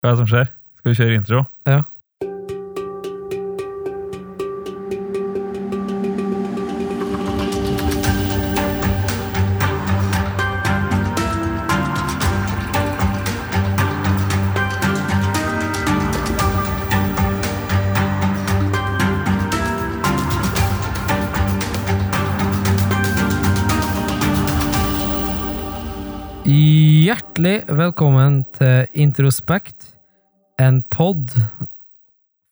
Hva er det som skjer? Skal vi kjøre intro? Ja. Hjertelig velkommen til Introspekt, en pod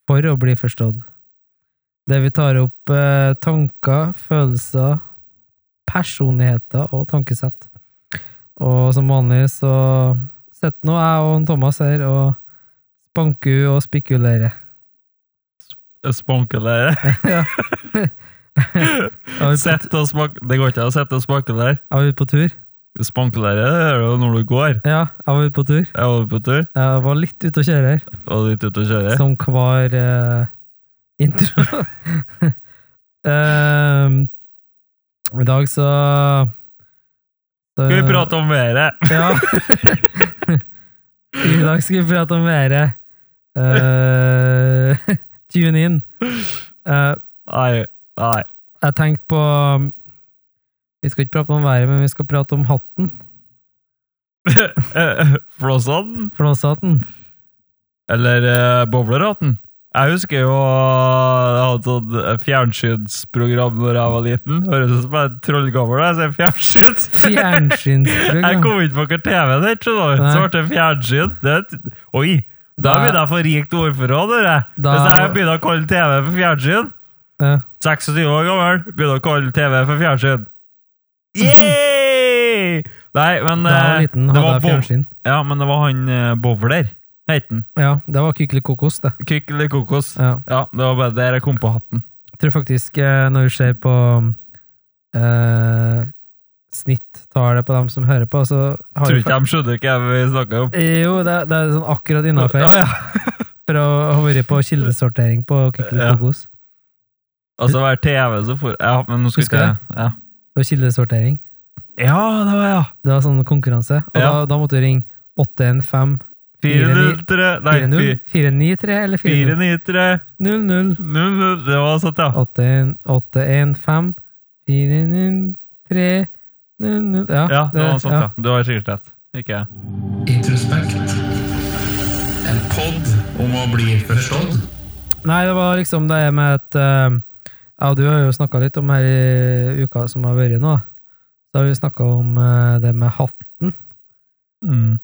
for å bli forstått. Der vi tar opp eh, tanker, følelser, personligheter og tankesett. Og som vanlig så sitter nå jeg og Thomas her og spanker og spikulerer. Spankelere. ja. Er vi på, Sett og spank... Det går ikke an å sette og spankelere. er vi på tur? Spankelere det er jo når du går. Ja, er vi på Jeg tur? var på tur, Jeg var litt ute å kjøre her. og litt ute å kjøre. Som hver eh, intro. Ehm, I dag så, så Skal vi prate om været? Ja. I dag skal vi prate om været. Eh, tune in. Eh, Nei, nei. jeg tenkte på um, Vi skal ikke prate om været, men vi skal prate om hatten. Flåshatten? Flåshatten. Eller eh, bowlerhatten? Jeg husker jo eh, jeg hadde sånn fjernsynsprogram når jeg var liten. Høres ut som jeg er trollgammel når jeg sier fjernsyns. Jeg Fjernsynsprogram. kom ikke på hva TV det er, skjønner du. Nei. Så ble det fjernsyn. Det, er et- oi, da Da- begynner jeg å få rikt ordforråd, hører jeg. Da- Hvis jeg begynner å kalle TV for fjernsyn, Ja. 26 år gammel, begynner å kalle TV for fjernsyn. Yay! Nei, men Da jeg var eh, liten, det hadde var jeg bo- fjernsyn. Ja, men det var han eh, Bowler, het han. Ja, det var Kykeli kokos, det. Kykk eller kokos. Ja. Ja, det var bare der jeg kom på hatten. Jeg tror faktisk eh, når vi ser på eh, snittallet på dem som hører på, så har Tror vi fa- ikke de skjønner hva vi snakker om. Jo, det, er- det er sånn akkurat innafor. Ja, ja. For å ha vært på kildesortering på Kykeli Ja. kokos. Altså, hver TV så får Ja, men nå skal Husker ikke jeg ja. Det var kildesortering. ja, det var ja. Det var sånn konkurranse. Og Ja. da, da måtte du ringe 815 403 Nei, 40 493 eller 400 493 00 Mm, Det var sånn, ja. 815 493 00 Ja, Ja, det var sånt, ja. Du har sikkert rett. Ikke jeg. Introspekt. En pod om å bli forstått. Nei, det var liksom det med at eh, Ja, du har jo snakka litt om her i uka som har vært nå. Da har vi snakka om eh, det med hatten. Mm,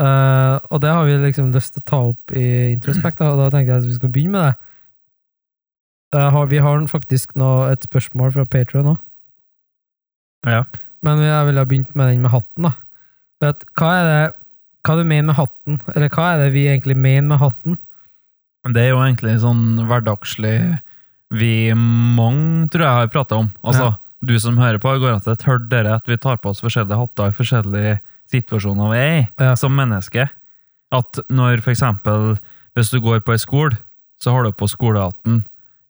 Eh, og det har vi liksom lyst til å ta opp i Introspekt, da, og da tenkte jeg at vi skal begynne med det. Eh, har, vi har faktisk nå et spørsmål fra Patreon òg, Ja. men jeg ville ha begynt med den med hatten. da. For at, hva er det hva du mener med hatten, eller hva er det vi egentlig mener med hatten? Det er jo egentlig sånn hverdagslig vi mange, tror jeg, har prata om. Altså, du som hører på, går an til et hørt dere at vi tar på oss forskjellige hatter i forskjellige situasjoner vi er i, Ja. som menneske. At når for eksempel, hvis du går på ei skole, så har du på skolehatten.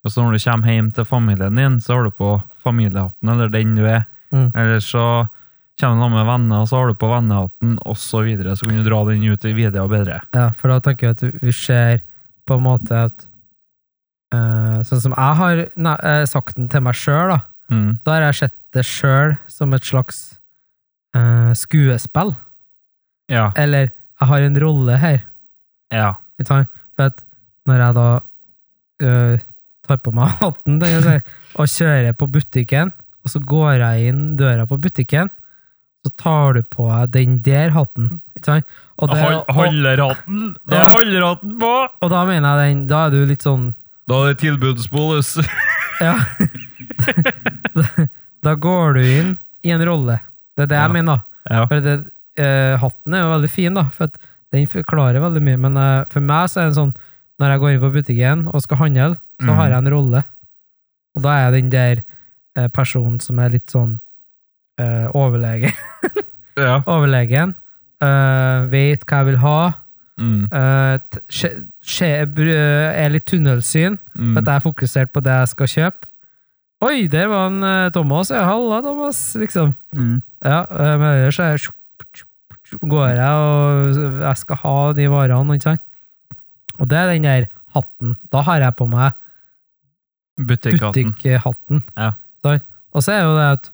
Og så når du kommer hjem til familien din, så har du på familiehatten, eller den du er. Mm. Eller så kommer du sammen med venner, og så har du på vennehatten, og så videre. Så kan du dra den ut i videre og bedre. Ja, for da tenker jeg at vi ser på en måte at eh, Sånn som jeg har nei, eh, sagt den til meg sjøl, da. Mm. Da har jeg sett det sjøl som et slags eh, skuespill. Ja. Eller jeg har en rolle her. Ja. Vet du hva? For at når jeg da eh, tar på meg hatten tenker jeg å si, og kjører på butikken, og så går jeg inn døra på butikken, så tar du på deg den der hatten. Ikke sant? Og, det, Hol- og, Holderhatten! Da Ja. er holderhatten på! og da mener jeg den Da er du litt sånn Da er det tilbudsbolus. Ja. Da- da går du inn i en rolle. Det er det jeg Ja. mener. Ja. For det, eh, hatten er jo veldig fin, da, for at den forklarer veldig mye. Men eh, for meg så er det sånn når jeg går inn på butikken og skal handle, så Mhm. har jeg en rolle. Og da er jeg den der eh, personen som er litt sånn eh, overlege. ja. overlegen. Eh, vet hva jeg vil ha. Mm. Eh, t- skje- skje- br- eh, er litt tunnelsyn. Mm. For at jeg er fokusert på det jeg skal kjøpe. Oi, der var en eh, Thomas. Ja, halla, Thomas. Liksom. Mm. Ja, eh, men ellers er jeg Går jeg og jeg skal ha de varene, ikke sant? Og det er den der hatten. Da har jeg på meg Butikkhatten. butikkhatten. Ja. Sant? Og så er jo det at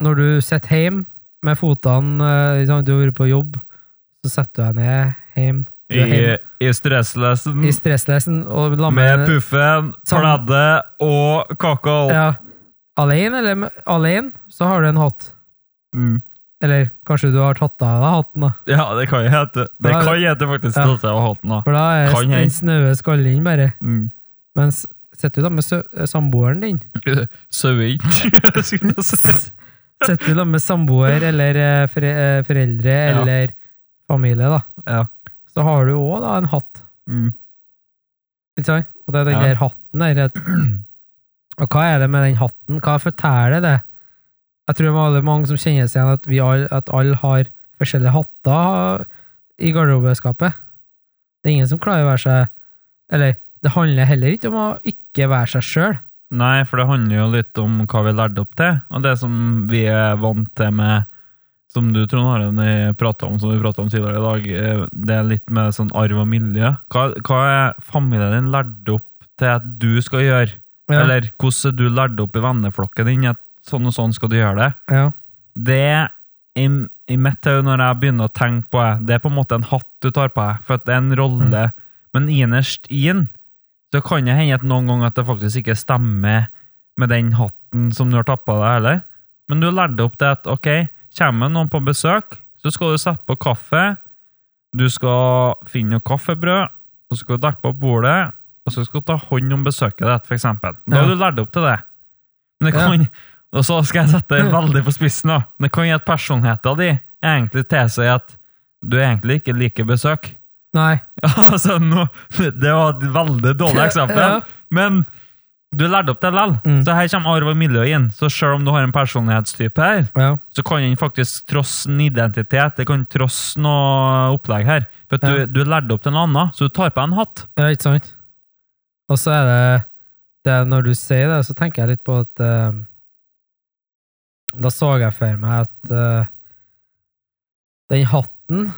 når du sitter hjemme med fotene eh, ikke sant, Du har vært på jobb, så setter du deg ned hjemme. Du er I, hjemme i stresslessen i stresslesen og Mm. med lammer- puffen, Sam- pleddet og kakao. Ja. Alene, eller med- alene, så har du en hatt. Mm. Eller kanskje du har tatt av deg hatten, da. ja, det kan hete. Det Da- kan hete faktisk Ja. at jeg har hatt den da. For da er Kan hende. den snaue skallen din bare. Mm. Mens sitter du da med sø- eh, samboeren din Sauing. Sitter du da med samboer eller eh, fore, eh, foreldre Ja. eller familie, da, ja. så har du òg da en hatt. Mm. Ikke sant? Og det er den Ja. der hatten der. at- Og hva er det med den hatten? Hva forteller det? Jeg tror det er veldig mange som kjenner seg igjen at vi alle, at alle har forskjellige hatter i garderobeskapet. Det er ingen som klarer å være seg Eller, det handler heller ikke om å ikke være seg sjøl. Nei, for det handler jo litt om hva vi lærte opp til, og det som vi er vant til med som du, Trond Harald, prata om som vi pratet om tidligere i dag, eh, det er litt med sånn arv og miljø. Hva, hva er familien din lært opp til at du skal gjøre? Eller hvordan er du lært opp i venneflokken din at sånn og sånn skal du gjøre det? ja. det i, i mitt hode når jeg begynner å tenke på det, det er på en måte en hatt du tar på deg, for at det er en rolle. Men innerst inn så kan det hende at noen ganger at det faktisk ikke stemmer med den hatten som du har tatt på deg, heller. Men du lærte opp til at ok, kommer noen på besøk, så skal du sette på kaffe, du skal finne noe kaffebrød, og så skal du dekke på bordet, og så skal du ta hånd om besøket ditt, for eksempel. Da har Ja. du lært opp til det. Men det Ja. kan, og så skal jeg sette det veldig på spissen. da. Det kan gi at personligheten din egentlig tilsier at du egentlig ikke liker besøk. Nei. altså, nå, det var et veldig dårlig eksempel, Ja. men du lærte opp det likevel. Mm. Så her kommer arv og miljø inn. Så selv om du har en personlighetstype her, Ja. så kan den faktisk trosse en identitet. Det kan trosse noe opplegg her. For at du, Ja. du lærte opp til en annen, så du tar på deg en hatt. Ja, ikke sant? Og så er det, det er Når du sier det, så tenker jeg litt på at eh, Da så jeg for meg at eh, den hatten,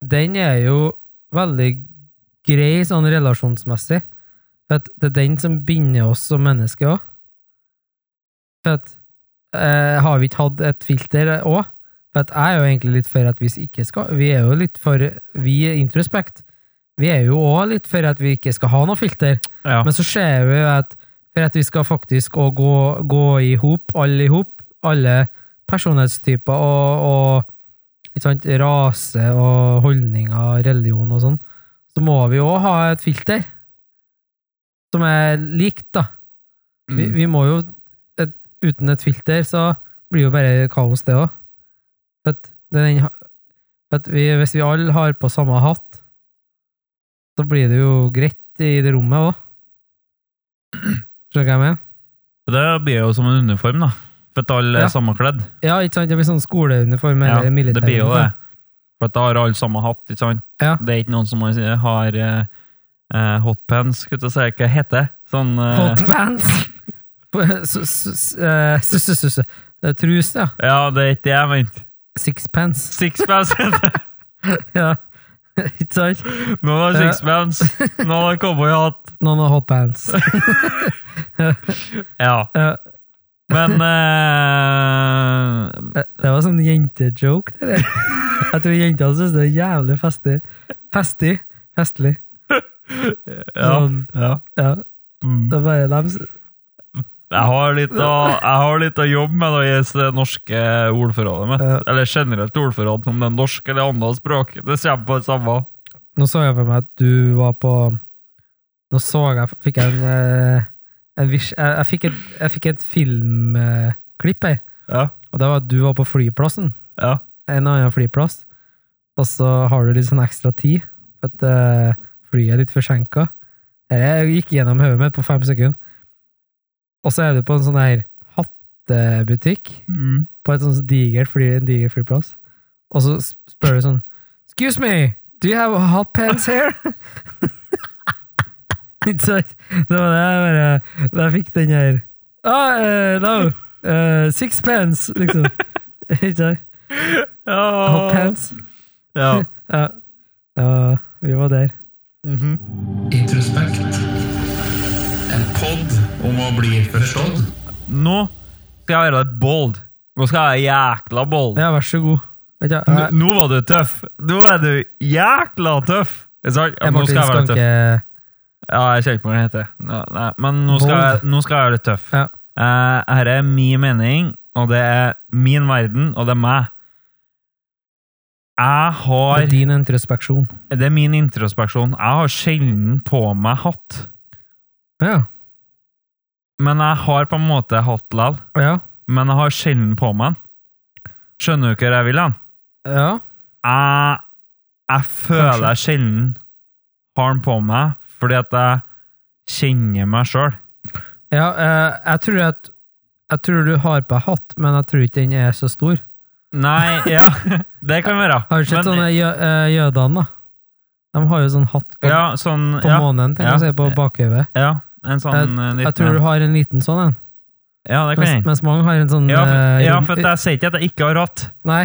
den er jo veldig grei sånn relasjonsmessig. For at det er den som binder oss som mennesker òg. For at eh, Har vi ikke hatt et filter òg? For at jeg er jo egentlig litt for at vi ikke skal Vi er jo litt for Vi er introspekt. Vi er jo òg litt for at vi ikke skal ha noe filter, Ja. men så ser vi jo at for at vi skal faktisk òg gå, gå i hop, alle i hop, alle personlighetstyper og, og ikke sant, rase og holdninger, religion og sånn, så må vi òg ha et filter som er likt, da. Mm. Vi, vi må jo et, Uten et filter så blir jo bare kaos, det òg. For at det er den ha- for at vi, hvis vi alle har på samme hatt, så blir det jo greit i det rommet òg. Skjønner du hva jeg mener? Det blir jo som en uniform, da. For at alle Ja. er sammenkledd. Ja, ikke sant? Det blir sånn skoleuniform Ja, eller militær. det blir jo det. For at da har alle samme hatt, ikke sant? Ja. Det er ikke noen som har- har eh, eh, hotpants, skulle jeg til å si, hva heter det? Sånn eh, Hot pants! S- s- s- eh, s- s- s- s- eh, Trus, ja. Ja, det er ikke det jeg mente. Sixpence. Sixpence! Ja. Ikke sant? Nå var det Ja. sixpence, nå var det cowboyhatt. Noen har hot pants. Eh, Ja. Ja. Men eh, Det det var sånn jentejoke, det der. Jeg tror jentene synes det er jævlig festlig. Festig. Festlig. ja, Sånn, ja. ja. Mm. Det er bare dem s- Jeg har litt å, jeg har litt å jobbe med da, i det norske ordforrådet mitt. Ja. Eller generelt ordforråd, om det er norsk eller annet språk. Det kommer på det samme. Nå så jeg for meg at du var på Nå så jeg Fikk jeg en, eh, en vis, jeg, jeg fikk et, jeg fikk et filmklipp her. Ja, Og det var at du var på flyplassen. ja. En annen flyplass. Og så har du litt sånn ekstra tid. For at eh, flyet er litt forsinka. Dette gikk gjennom hodet mitt på fem sekunder. Og så er du på en sånn her hattebutikk. Mm. på et sånt digert fly, en diger flyplass. Og så s- spør du sånn Excuse me, do you have hot pants here? Ikke sant? Det var det jeg bare Da jeg fikk den her Ah, eh, no. eh, six pence, liksom. Ikke sant? Ja. Hot pants. Ja. Ja. ja. Vi var der. Introspekt. En pod om å bli forstått. Nå skal jeg være litt bold. Nå skal jeg være jækla bold. Ja, vær så god. Vet du, N- jeg, Nå var du tøff! Nå er du jækla tøff! Er det sant? Ja, jeg, nå Martin skal jeg være tøff. Skanke Ja, jeg kjenner ikke hva den heter. Nå- Nei, men nå skal, Bold. jeg, nå skal jeg være litt tøff. Ja. Eh, her er min mening, og det er min verden, og det er meg. Jeg Det har er din introspeksjon. Det er min introspeksjon. Jeg har sjelden på meg hatt, Ja. men jeg har på en måte hatt likevel. Ja. Men jeg har sjelden på meg den. Skjønner du hva jeg vil hen? ja. jeg, jeg føler jeg sjelden har den på meg, fordi at jeg kjenner meg sjøl. Ja, eh, jeg tror at Jeg tror du har på hatt, men jeg tror ikke den er så stor. Nei, ja, det kan være. Har du Men- sett sånne jø, eh, jødene, da? De har jo sånn hatt på, Ja, sånn, på ja, månen, tenker jeg å si, på bakhodet. ja, en sånn eh, Jeg liten tror du en. har en liten sånn en, Ja, det kan mens, jeg. mens mange har en sånn Ja, for, eh, ja, rund- for at jeg sier ikke at jeg ikke har hatt. Nei,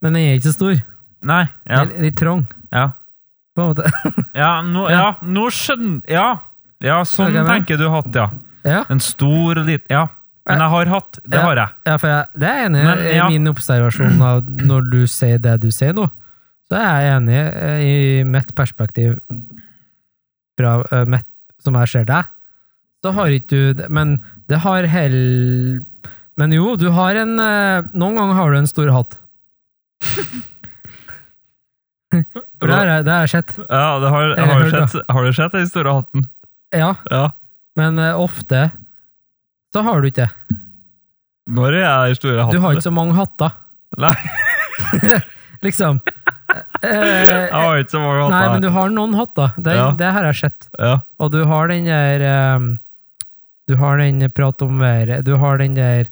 men den er ikke så stor. Nei, ja, Den er Litt trang, ja. på en måte. Ja, nå, ja, nå skjønner Ja, ja sånn Skjønner jeg tenker du hatt, ja. Ja, En stor, liten Ja. Men jeg har hatt. Det Ja. har jeg. ja for jeg, det er enig Men, i ja. min observasjon av når du sier det du sier nå. Så er jeg enig eh, i mitt perspektiv fra eh, mitt, som jeg ser deg. Så har ikke du det- Men det har hell... Men jo, du har en eh, Noen ganger har du en stor hatt. For det har jeg- det har jeg sett. Ja, det har, Eller har, du hørt, sett, har du sett den store hatten? Ja, Ja. men eh, ofte så har du ikke det. Når er jeg den store hatten? Du har ikke så mange hatter, Nei. liksom. Eh, Jeg har ikke så mange hatter. Nei, men du har noen hatter. Det, Ja. det har jeg sett. ja. Og du har den der ehm, Du har den prat om været Du har den der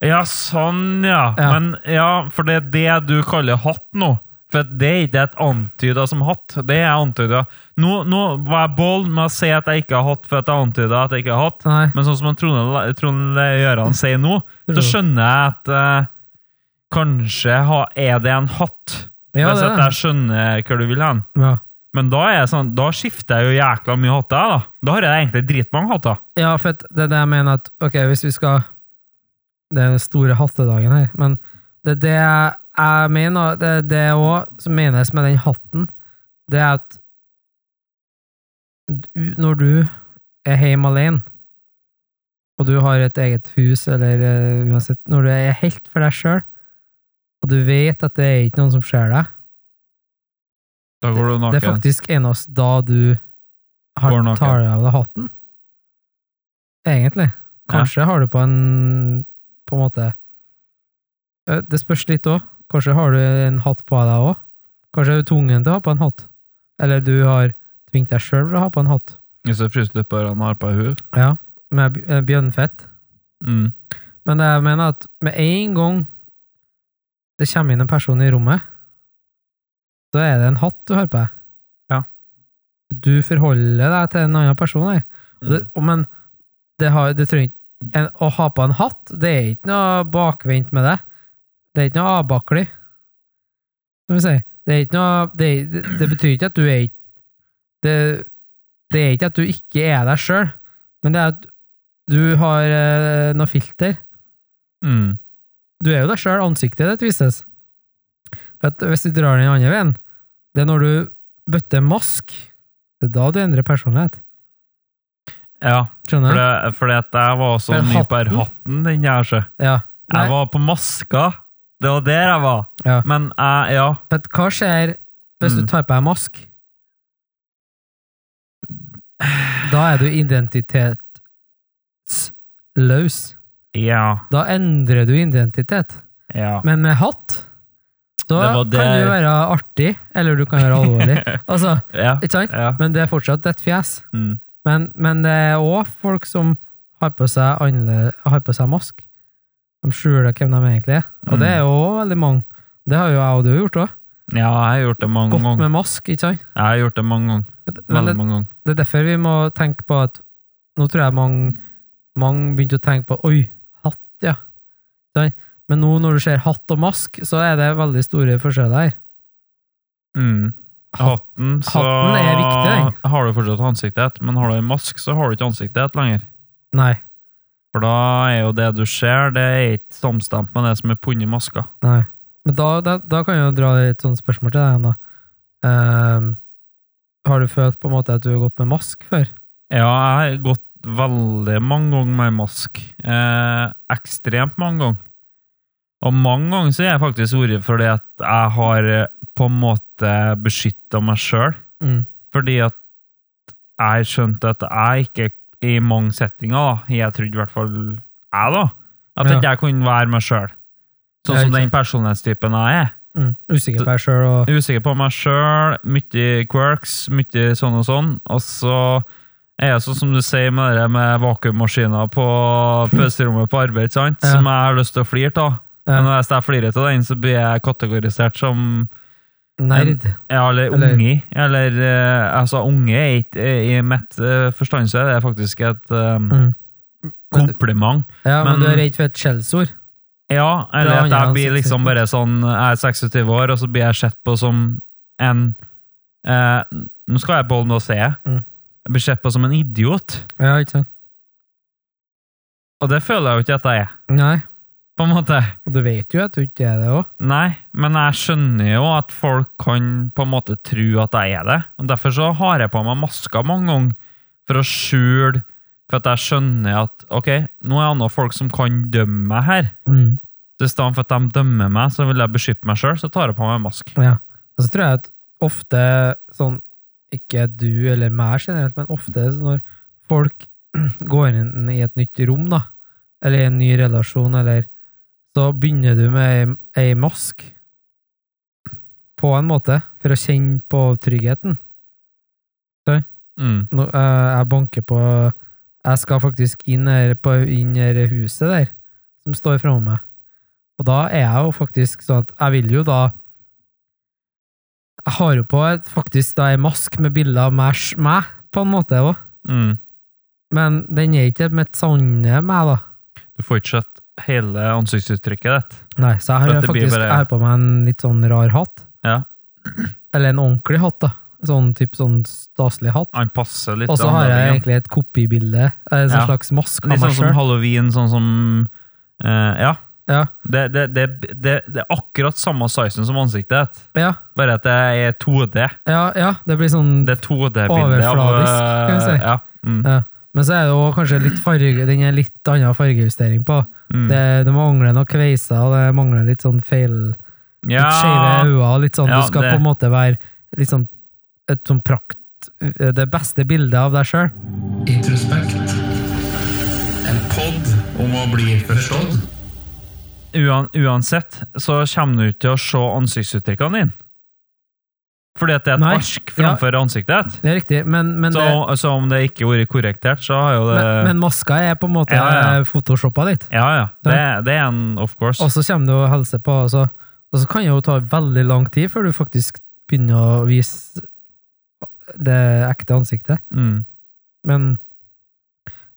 ja, sånn, ja. Ja. Men ja, for det er det du kaller hatt nå. For det er ikke et antyda som hatt. Det er antyda. Nå, nå var jeg bold med å si at jeg ikke har hatt, for at jeg antyda at jeg ikke har hatt. Nei. Men sånn som han Trond Trond Gjøran sier nå, så Trond. skjønner jeg at eh, kanskje ha, er det en hatt. Ja, hvis det at er jeg skjønner hva du vil hen. ja. Men da, er jeg sånn, da skifter jeg jo jækla mye hatter, jeg, da. Da har jeg egentlig dritmange hatter. ja, for at det er det jeg mener at Ok, hvis vi skal Det er den store hattedagen her, men det er det jeg- jeg mener Det er det òg som menes med den hatten, det er at du, når du er hjemme alene, og du har et eget hus, eller eh, uansett, når du er helt for deg sjøl, og du vet at det er ikke noen som ser deg, Da går du naken. det er faktisk eneste da du har Går naken. tar deg av deg hatten. Egentlig. Kanskje har du på en På en måte Eh, Det spørs litt òg. Kanskje har du en hatt på deg òg. Kanskje er du tvungen til å ha på en hatt. Eller du har tvingt deg sjøl til å ha på en hatt. Hvis du fryser litt på ørene og har på deg huet. Ja. Med bj- eh, bjørnfett. Mm. Men det jeg mener at med en gang det kommer inn en person i rommet, så er det en hatt du har på deg. Ja. Du forholder deg til en annen person her. Og Det, og, men det, har, det trenger ikke en, Å ha på en hatt, det er ikke noe bakvendt med det. Det er ikke noe avbaklig. Som vi sier. Det er ikke noe Det, det, det betyr ikke at du er ikke det, det er ikke at du ikke er deg sjøl, men det er at du har eh, noe filter Mm. du er jo deg sjøl, ansiktet ditt vises. For at hvis du drar den andre veien, det er når du bøtter mask, det er da du endrer personlighet. Ja, for Skjønner du? det, fordi at jeg var så Men ny på her hatten? hatten, den der, så. Ja. Nei, Jeg var på maska. Det var der jeg var. Ja. Men jeg, ja, for at hva skjer hvis Mm. du tar på deg mask? Da er du identitetsløs. ja, Da endrer du identitet. ja. Men med hatt, Det da var kan du der. være artig, eller du kan være alvorlig. Altså, Ja. ikke sant? ja. Men det er fortsatt ditt fjes. Mm. Men, men det er òg folk som har på seg, annerle- har på seg mask. De skjuler hvem de egentlig er. Og det er Mm. jo også veldig mange. Det har jo jeg og du gjort òg. ja, jeg har gjort det mange Gått ganger. med mask, ikke sant? Jeg har gjort det mange ganger. Men Veldig det, mange ganger. det er derfor vi må tenke på at Nå tror jeg mange, mange begynte å tenke på Oi, hatt, ja. Ikke sant? Men nå når du ser hatt og mask, så er det veldig store forskjeller her. Mm. Hatten, så Hatten er viktig, har du fortsatt ansiktet, men har du en mask, så har du ikke ansiktet lenger. Nei. For da er jo det du ser, det er ikke samstemt med det som er pundet i maska. Nei. Men da, da, da kan jeg jo dra et sånt spørsmål til deg, da. Ehm, har du følt på en måte at du har gått med mask før? Ja, jeg har gått veldig mange ganger med mask. Eh, ekstremt mange ganger. Og mange ganger så er jeg faktisk ordet fordi at jeg har eh, på en måte beskytta meg sjøl. Mm. Fordi at jeg skjønte at jeg ikke i mange settinger, da, jeg trodde i hvert fall jeg, da, at Ja. ikke jeg kunne være meg sjøl. Sånn Ja, som ikke den personlighetstypen jeg er. Mm. Usikker på deg sjøl og Usikker på meg sjøl, mye quirks, mye sånn og sånn. Og så er jeg sånn som du sier med det der med vakuummaskiner på pøserommet på arbeid, sant? Ja. som jeg har lyst til å flire av. Ja. Men hvis jeg flirer av den, så blir jeg kategorisert som nerd. ja, eller Eller- unge. Eller eh, altså, unge er ikke I mitt eh, forstand så er det faktisk et eh, Mm. Men du- kompliment. Ja, men, Men- du er redd for et skjellsord? Ja, Fra eller at andre jeg blir liksom bare sånn Jeg er 26 år, og så blir jeg sett på som en eh, Nå skal jeg på med å se. Mm. Jeg blir sett på som en idiot, Ja, ikke sant? og det føler jeg jo ikke at jeg er, Nei. på en måte. Og du vet jo at du ikke er det òg. Nei, men jeg skjønner jo at folk kan på en måte tro at jeg er det. Og derfor så har jeg på meg masker mange ganger, for å skjule For at jeg skjønner at ok, nå er det andre folk som kan dømme meg her. Mm. Så i stedet for at de dømmer meg, så vil jeg beskytte meg sjøl, så tar jeg på meg mask. Ja. Og så tror jeg at ofte sånn Ikke du eller meg generelt, men ofte så når folk går inn i et nytt rom, da, eller i en ny relasjon, eller Så begynner du med ei, ei mask, på en måte, for å kjenne på tryggheten. Mm. Nå, eh, jeg banker på Jeg skal faktisk inn her på inn her i huset der, som står framme meg. Og da er jeg jo faktisk sånn at jeg vil jo da Jeg har jo på et, faktisk da ei mask med bilde av meg, sj- meg, på en måte òg. Mm. Men den er ikke mitt sanne meg, da. Du får ikke sett hele ansiktsuttrykket ditt. Nei, så For jeg at har det blir faktisk bare- jeg har på meg en litt sånn rar hatt. Ja, Eller en ordentlig hatt, da. Sånn typ sånn staselig hatt. Han passer litt Og så har jeg annerledes. egentlig et kopibilde, en Ja. slags maske av Litt meg sånn som sjøl. halloween, sånn som eh, Ja. Ja. Det, det, det, det, det er akkurat samme sizen som ansiktet ditt. Ja. Bare at det er 2D. Ja, ja, det blir sånn Det 2D-bildet av Overfladisk, kan vi si. Ja. Mm. Ja. Men så er det også kanskje litt farge Den er litt annen fargejustering på. Mm. Det, det mangler noen kveiser, og det mangler litt sånn feil ja. Litt skeive øyne. Litt sånn, Ja, du skal det- på en måte være litt sånn et sånn prakt eh, Det beste bildet av deg sjøl. Introspekt. En pod om å bli forstått. Uan, uansett så kommer du ikke til å se ansiktsuttrykkene dine. Fordi at det er et Nei. ark framfor ansiktet ditt. Det er riktig, men, men, Så, det, så om det ikke har vært korrektert, så har jo det men, men maska er på en måte Ja, ja. photoshoppa litt. Ja, ja. Det, det er en of course. Og så kommer det jo helse på, og så, og så kan det jo ta veldig lang tid før du faktisk begynner å vise det ekte ansiktet. Mm. Men,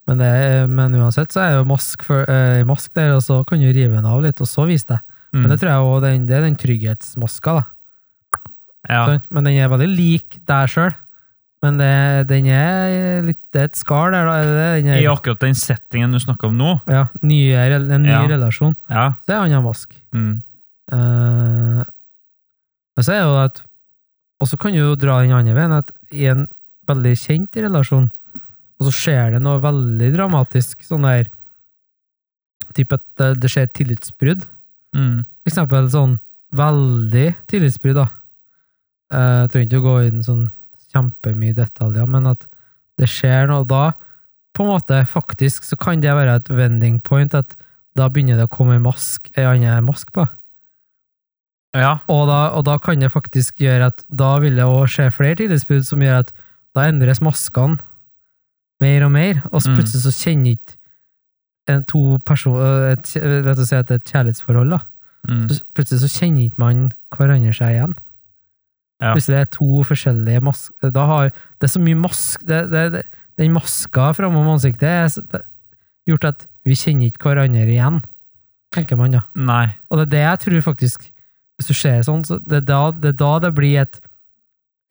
men, det, men uansett så er jo mask, for, eh, mask der, og så kan du rive den av litt, og så vise deg. Mm. Men det tror jeg også, den, det er den trygghetsmaska, da. ja. Sant? Men den er veldig lik deg sjøl. Men det, den er litt, det er et skall der, da. er det det? Den er, I akkurat den settingen du snakker om nå. ja, nye, rel- en ny Ja. relasjon. Ja. Så er det annen mask. Mm. Eh, men så er det jo at Og så kan du jo dra den andre veien, at i en veldig kjent relasjon, og så skjer det noe veldig dramatisk, sånn der Typ at det- det skjer tillitsbrudd. Mm. For eksempel sånn veldig tillitsbrudd, da. Eh, Jeg trenger ikke å gå inn sånn kjempemye detaljer, men at det skjer noe da, på en måte, faktisk, så kan det være et vending point, at da begynner det å komme en mask, en annen mask på. ja. Og da, og da kan det faktisk gjøre at da vil det også skje flere tillitsbrudd som gjør at da endres maskene mer og mer, og så Mm. plutselig så kjenner ikke en to eh, personer La oss si at det er et kjærlighetsforhold, da. Mm. Så plutselig så kjenner ikke man hverandre seg igjen. Ja. Plutselig er det to forskjellige masker Da har Det er så mye mask det, det, det, Den maska framom ansiktet er s- det, gjort at vi kjenner ikke hverandre igjen, tenker man da. Nei. Og det er det jeg tror faktisk Hvis du ser sånn, så det er da det, er da det blir et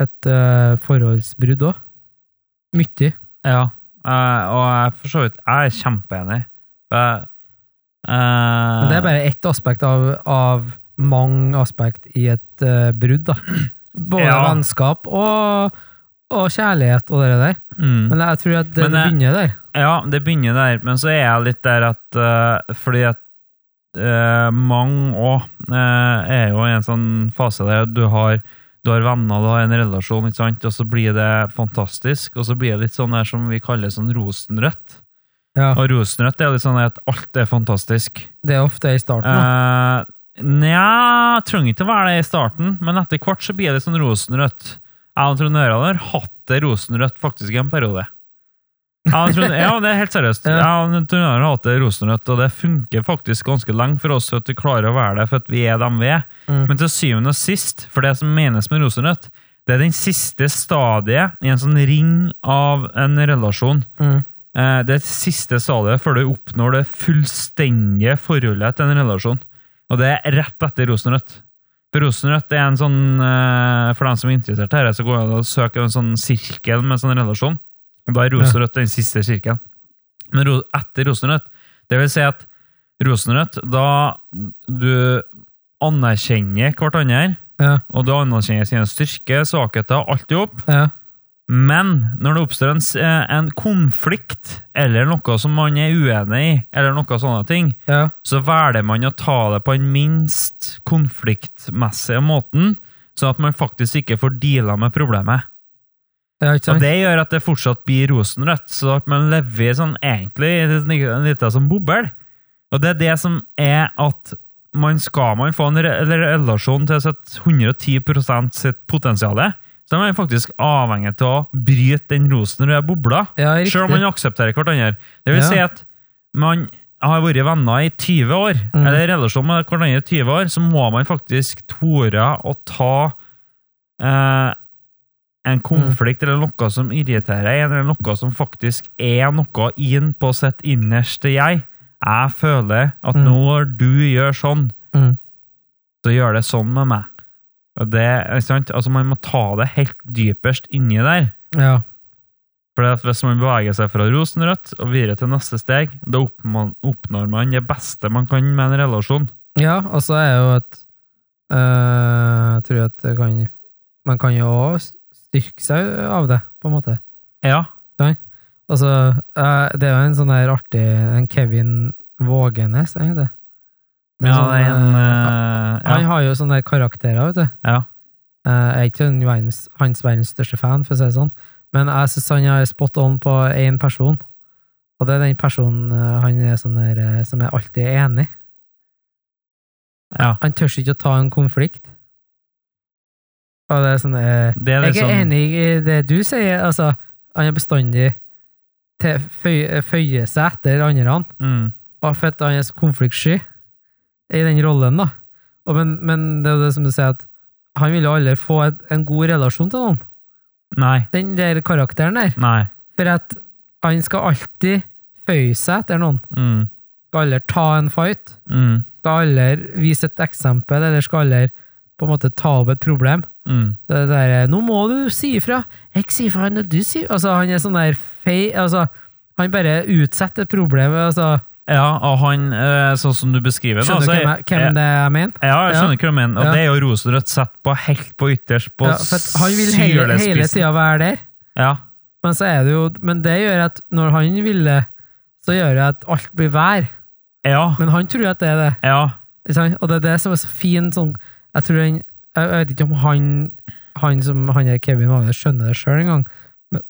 et eh, forholdsbrudd òg. Mye. Ja, eh, og jeg er for så vidt Jeg er kjempeenig. Jeg, eh, Men det er bare ett aspekt av, av mange aspekt i et eh, brudd, da. Både Ja. vennskap og, og kjærlighet og det der. mm. Men jeg tror at det Men, eh, begynner der. Ja, det begynner der, men så er jeg litt der at eh, Fordi at eh, mange òg er jo i en sånn fase der du har, du har venner, du har en relasjon, ikke sant? og så blir det fantastisk, og så blir det litt sånn der som vi kaller sånn rosenrødt. Ja, Og rosenrødt er litt sånn at alt er fantastisk. det er ofte i starten. da. Uh, Nja, trenger ikke å være det i starten, men etter hvert så blir det litt sånn rosenrødt. Jeg og Trond Øran har hatt det rosenrødt faktisk i en periode. Jeg og Trond, ja, det er helt seriøst. Ja. Jeg og Trond Øran har hatt det rosenrødt, og det funker faktisk ganske lenge for oss at vi klarer å være det, for at vi er dem vi er. Mm. Men til syvende og sist, for det som menes med rosenrødt, det er den siste stadiet i en sånn ring av en relasjon. Mm. Eh, Det er siste stadiet før du oppnår det fullstendige forholdet til en relasjon. Og det er rett etter rosenrødt. For rosenrødt er en sånn eh, For dem som er interessert her, så går det an å søke en sånn sirkel med en sånn relasjon. Og da er rosenrødt den siste sirkelen. Men ro, etter rosenrødt Det vil si at rosenrødt, da du anerkjenner hverandre, Ja, og du anerkjenner sine styrker, svakheter, alt i hop, ja. men når det oppstår en, s- eh, en konflikt, eller noe som man er uenig i, eller noe sånne ting, Ja, så velger man å ta det på den minst konfliktmessige måten, sånn at man faktisk ikke får deala med problemet. ja ikke Og sant? det gjør at det fortsatt blir rosenrødt, så at man lever i sånn, egentlig i en liten- en liten sånn bobbel. Og det er det som er at man skal man få en re eller relasjon til sitt 110 sitt potensial, så er man faktisk avhengig av å bryte den rosenrøde bobla, Ja, selv om riktig. man aksepterer hverandre. Det vil Ja. si at man har vært venner i 20 år, Mm. eller i relasjon med hverandre i 20 år, så må man faktisk tore å ta eh, en Mm. konflikt eller noe som irriterer en, eller noe som faktisk er noe inn på sitt innerste jeg. Jeg føler at Mm. når du gjør sånn, Mm. så gjør det sånn med meg. Og det, ikke sant? Altså, man må ta det helt dypest inni der. Ja. For at hvis man beveger seg fra rosenrødt og videre til neste steg, da oppman- oppnår man det beste man kan med en relasjon. Ja, og så er jo at øh, Jeg tror at det kan Man kan jo også styrke seg av det, på en måte. Ja. Altså, øh, det er jo en sånn der artig en Kevin Vågenes, er det? det er Ja, sånn, det er en øh, eh, Han har jo sånne der karakterer, vet du. Ja. Eh, Jeg er ikke en verdens, hans verdens største fan, for å si det sånn, men jeg syns han er spot on på én person. Og det er den personen eh, han er sånn der, eh, som er alltid enig. ja. ja. Han tør ikke å ta en konflikt. Og det er sånn eh, Det er Jeg er liksom ikke enig i det du sier, altså. Han er bestandig til føye, føye seg etter andre, Mm. og for at han er så konfliktsky i den rollen, da. Og men, men det er jo det som du sier, at han vil jo aldri få et, en god relasjon til noen. Nei. Den der karakteren der. Nei. For at han skal alltid føye seg etter noen. Mm. Skal aldri ta en fight. Mm. Skal aldri vise et eksempel, eller skal aldri på en måte ta opp et problem. Mm. Så det der, Nå må du si ifra! Jeg sier ifra når du sier Altså, han er sånn der fei... Altså, han bare utsetter problemet, altså. Ja, og han, eh, sånn som du beskriver det, Skjønner du altså, hvem, jeg- hvem jeg- det jeg mener? Ja, jeg skjønner hva du mener, og Ja. det er jo rosenrødt sett på helt på ytterst på Ja, for at han vil hele, hele sylespissen. tida være der, Ja, men så er det jo Men det gjør at når han ville, så gjør det at alt blir vær. ja, Men han tror at det er det. ja, Ikke sant? Og det er det som er så fint sånn, Jeg tror han Jeg jeg vet ikke om han Han som han er Kevin Magnus skjønner det sjøl engang, men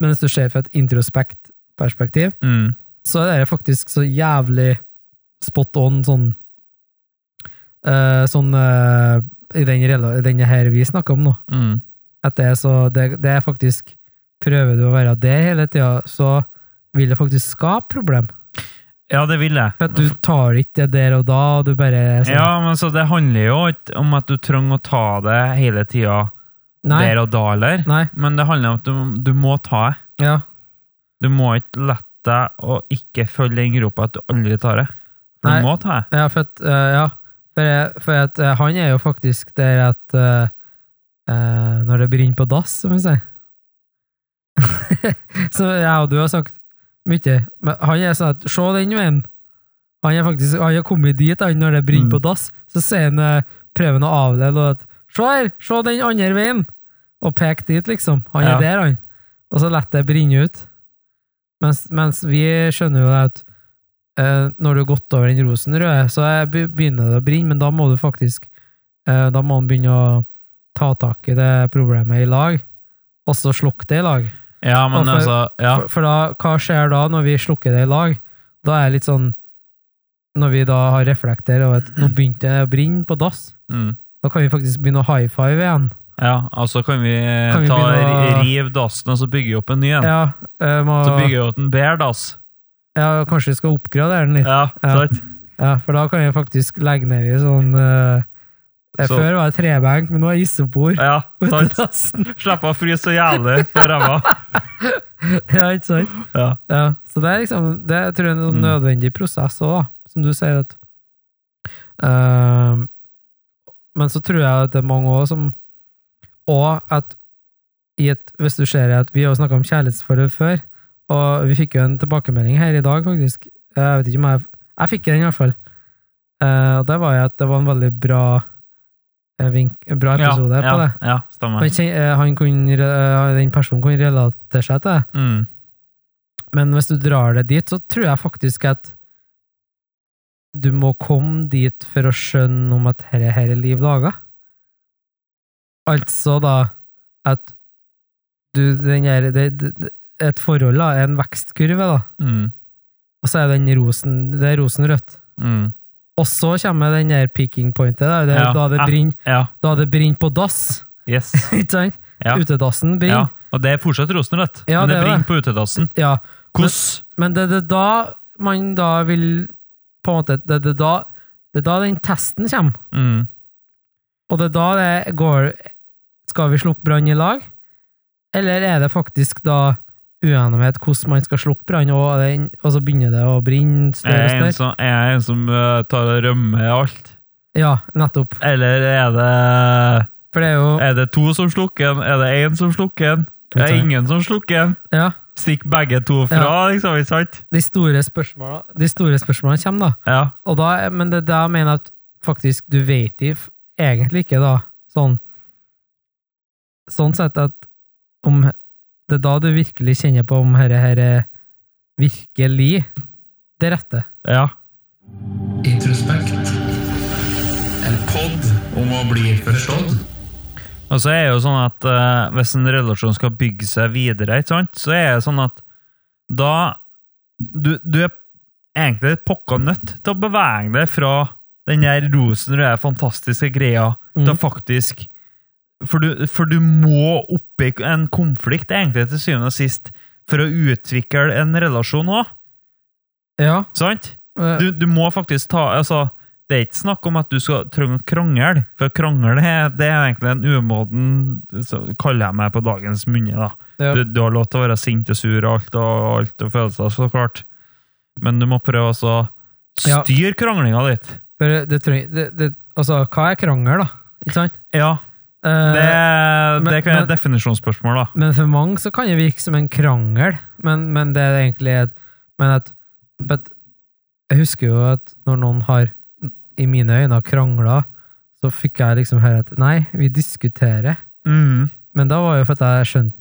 men hvis du ser fra et introspekt-perspektiv, mm, så er det faktisk så jævlig spot on sånn eh, Sånn eh, i den rela- i denne her vi snakker om nå mm, at det er så det, det er faktisk Prøver du å være det hele tida, så vil det faktisk skape problem. ja, det vil jeg. For at du tar ikke det der og da, og du bare er sånn Ja, men så det handler jo ikke om at du trenger å ta det hele tida Nei. der og da, eller? Nei. Men det handler om at du, du må ta det. Ja. Du må ikke la deg å ikke følge den gropa at du aldri tar det. Du Nei. må ta det. ja, for at, eh, ja. For, jeg- for at eh, han er jo faktisk der at eh, eh, når det brenner på dass, som vi sier. så jeg og du har sagt mye. Men han er sånn at Se den veien! Han er faktisk, han har kommet dit han, når det brenner Mm. på dass. Så sier han, eh, prøver han å avlede og at Se her! Se den andre veien! Og pek dit, liksom. Han Ja. er der, han. Og så lar det brenne ut. Mens, mens vi skjønner jo at eh, når du har gått over den rosenrøde, så er- be- begynner det å brenne, men da må du faktisk eh, Da må man begynne å ta tak i det problemet i lag, og så slukke det i lag. Ja, men Og for- altså ja. For, for da, hva skjer da når vi slukker det i lag? Da er det litt sånn Når vi da har reflekter over at nå begynte det å brenne på dass, Mm. da kan vi faktisk begynne å high five igjen. ja, altså kan vi, vi ta begynne å- riv dassen og så bygge opp en ny en? Ja, eh, må, Så bygger vi opp en bedre dass. ja kanskje vi skal oppgradere den litt. Ja, Ja. sant? Ja, for da kan jeg faktisk legge ned i sånn eh, eh, Så- Før var det trebenk, men nå er det isopor. Ja, på sant? terrassen. Slipp å fryse så jævlig på ræva. ja, ikke sant? Ja. Ja, så det er liksom Det er, tror jeg er en sånn Mm. nødvendig prosess òg, da. Som du sier at Ehm, Men så tror jeg at det er mange òg som Og at i et, hvis du ser at Vi har jo snakka om kjærlighetsforhold før, og vi fikk jo en tilbakemelding her i dag, faktisk. Eh, Jeg vet ikke om jeg Jeg fikk den, i hvert fall. Eh, og det var jo at det var en veldig bra eh, vink, bra episode ja, på det. Ja, stemmer. Han, kjen- eh, han kunne, re- eh, den personen kunne relatere seg til det. Mm. Men hvis du drar det dit, så tror jeg faktisk at du må komme dit for å skjønne om at herre, herre liv laga. Altså da at du, den der, det, det, det- et forhold da, er en vekstkurve, da. Mm. Og så er den rosen, det er rosenrødt. Mm. Og så kommer den der peaking pointet, da, det, Ja. da det Ja. brenner Ja. da det brenner på dass. Yes. Ikke sant? Ja. Utedassen ja. brenner. Og det er fortsatt rosenrødt, Ja, men det, det er brenner det. på utedassen. ja. Hvordan? Men det er det da man da vil På en måte Det er det da, det er da den testen kommer. Mm. Og det er da det går Skal vi slukke brann i lag? Eller er det faktisk da uenighet hvordan man skal slukke brann, og, den- og så begynner det å brenne Jeg større er og en større? som, jeg er en som eh, tar og rømmer alt. Ja, nettopp. Eller er det, For det er jo er det to som slukker den? Er det én som slukker den? Er det ingen som slukker den? Ja. Stikk begge to fra, liksom, ikke sant? De store spørsmåla De store spørsmålene kommer, da. Ja. Og da, men det er da jeg mener at faktisk du vet de f- egentlig ikke da, sånn, sånn sett at om, det er da du virkelig kjenner på om herre herre virkelig det rette. ja. Introspekt. En pod om å bli forstått. Og så er det jo sånn at eh, hvis en relasjon skal bygge seg videre, ikke sant? så er det sånn at da Du, du er egentlig pokka nødt til å bevege deg fra den der rosenrøde, fantastiske greia Mm. til faktisk for du, for du må oppi en konflikt, egentlig, til syvende og sist, for å utvikle en relasjon òg. Ja. Sant? øh, du, du må faktisk ta altså, Det er ikke snakk om at du skal trenge å krangle, for krangle er, det er egentlig en umoden så kaller jeg meg på dagens munne. da. Ja. Du, du har lov til å være sint og sur og alt og, alt og følelser, så klart. Men du må prøve også å Ja. styre kranglinga litt. For det trenger det, det, Altså, hva er krangel, da? Ikke sant? Ja, Eh, det, det kan men- være men- et definisjonsspørsmål, da. Men for mange så kan det virke som en krangel, men, men det er egentlig et, men at, but, Jeg husker jo at når noen har, i mine øyne, krangla, så fikk jeg liksom høre at nei, vi diskuterer. Mm. Men da var jo for at jeg skjønte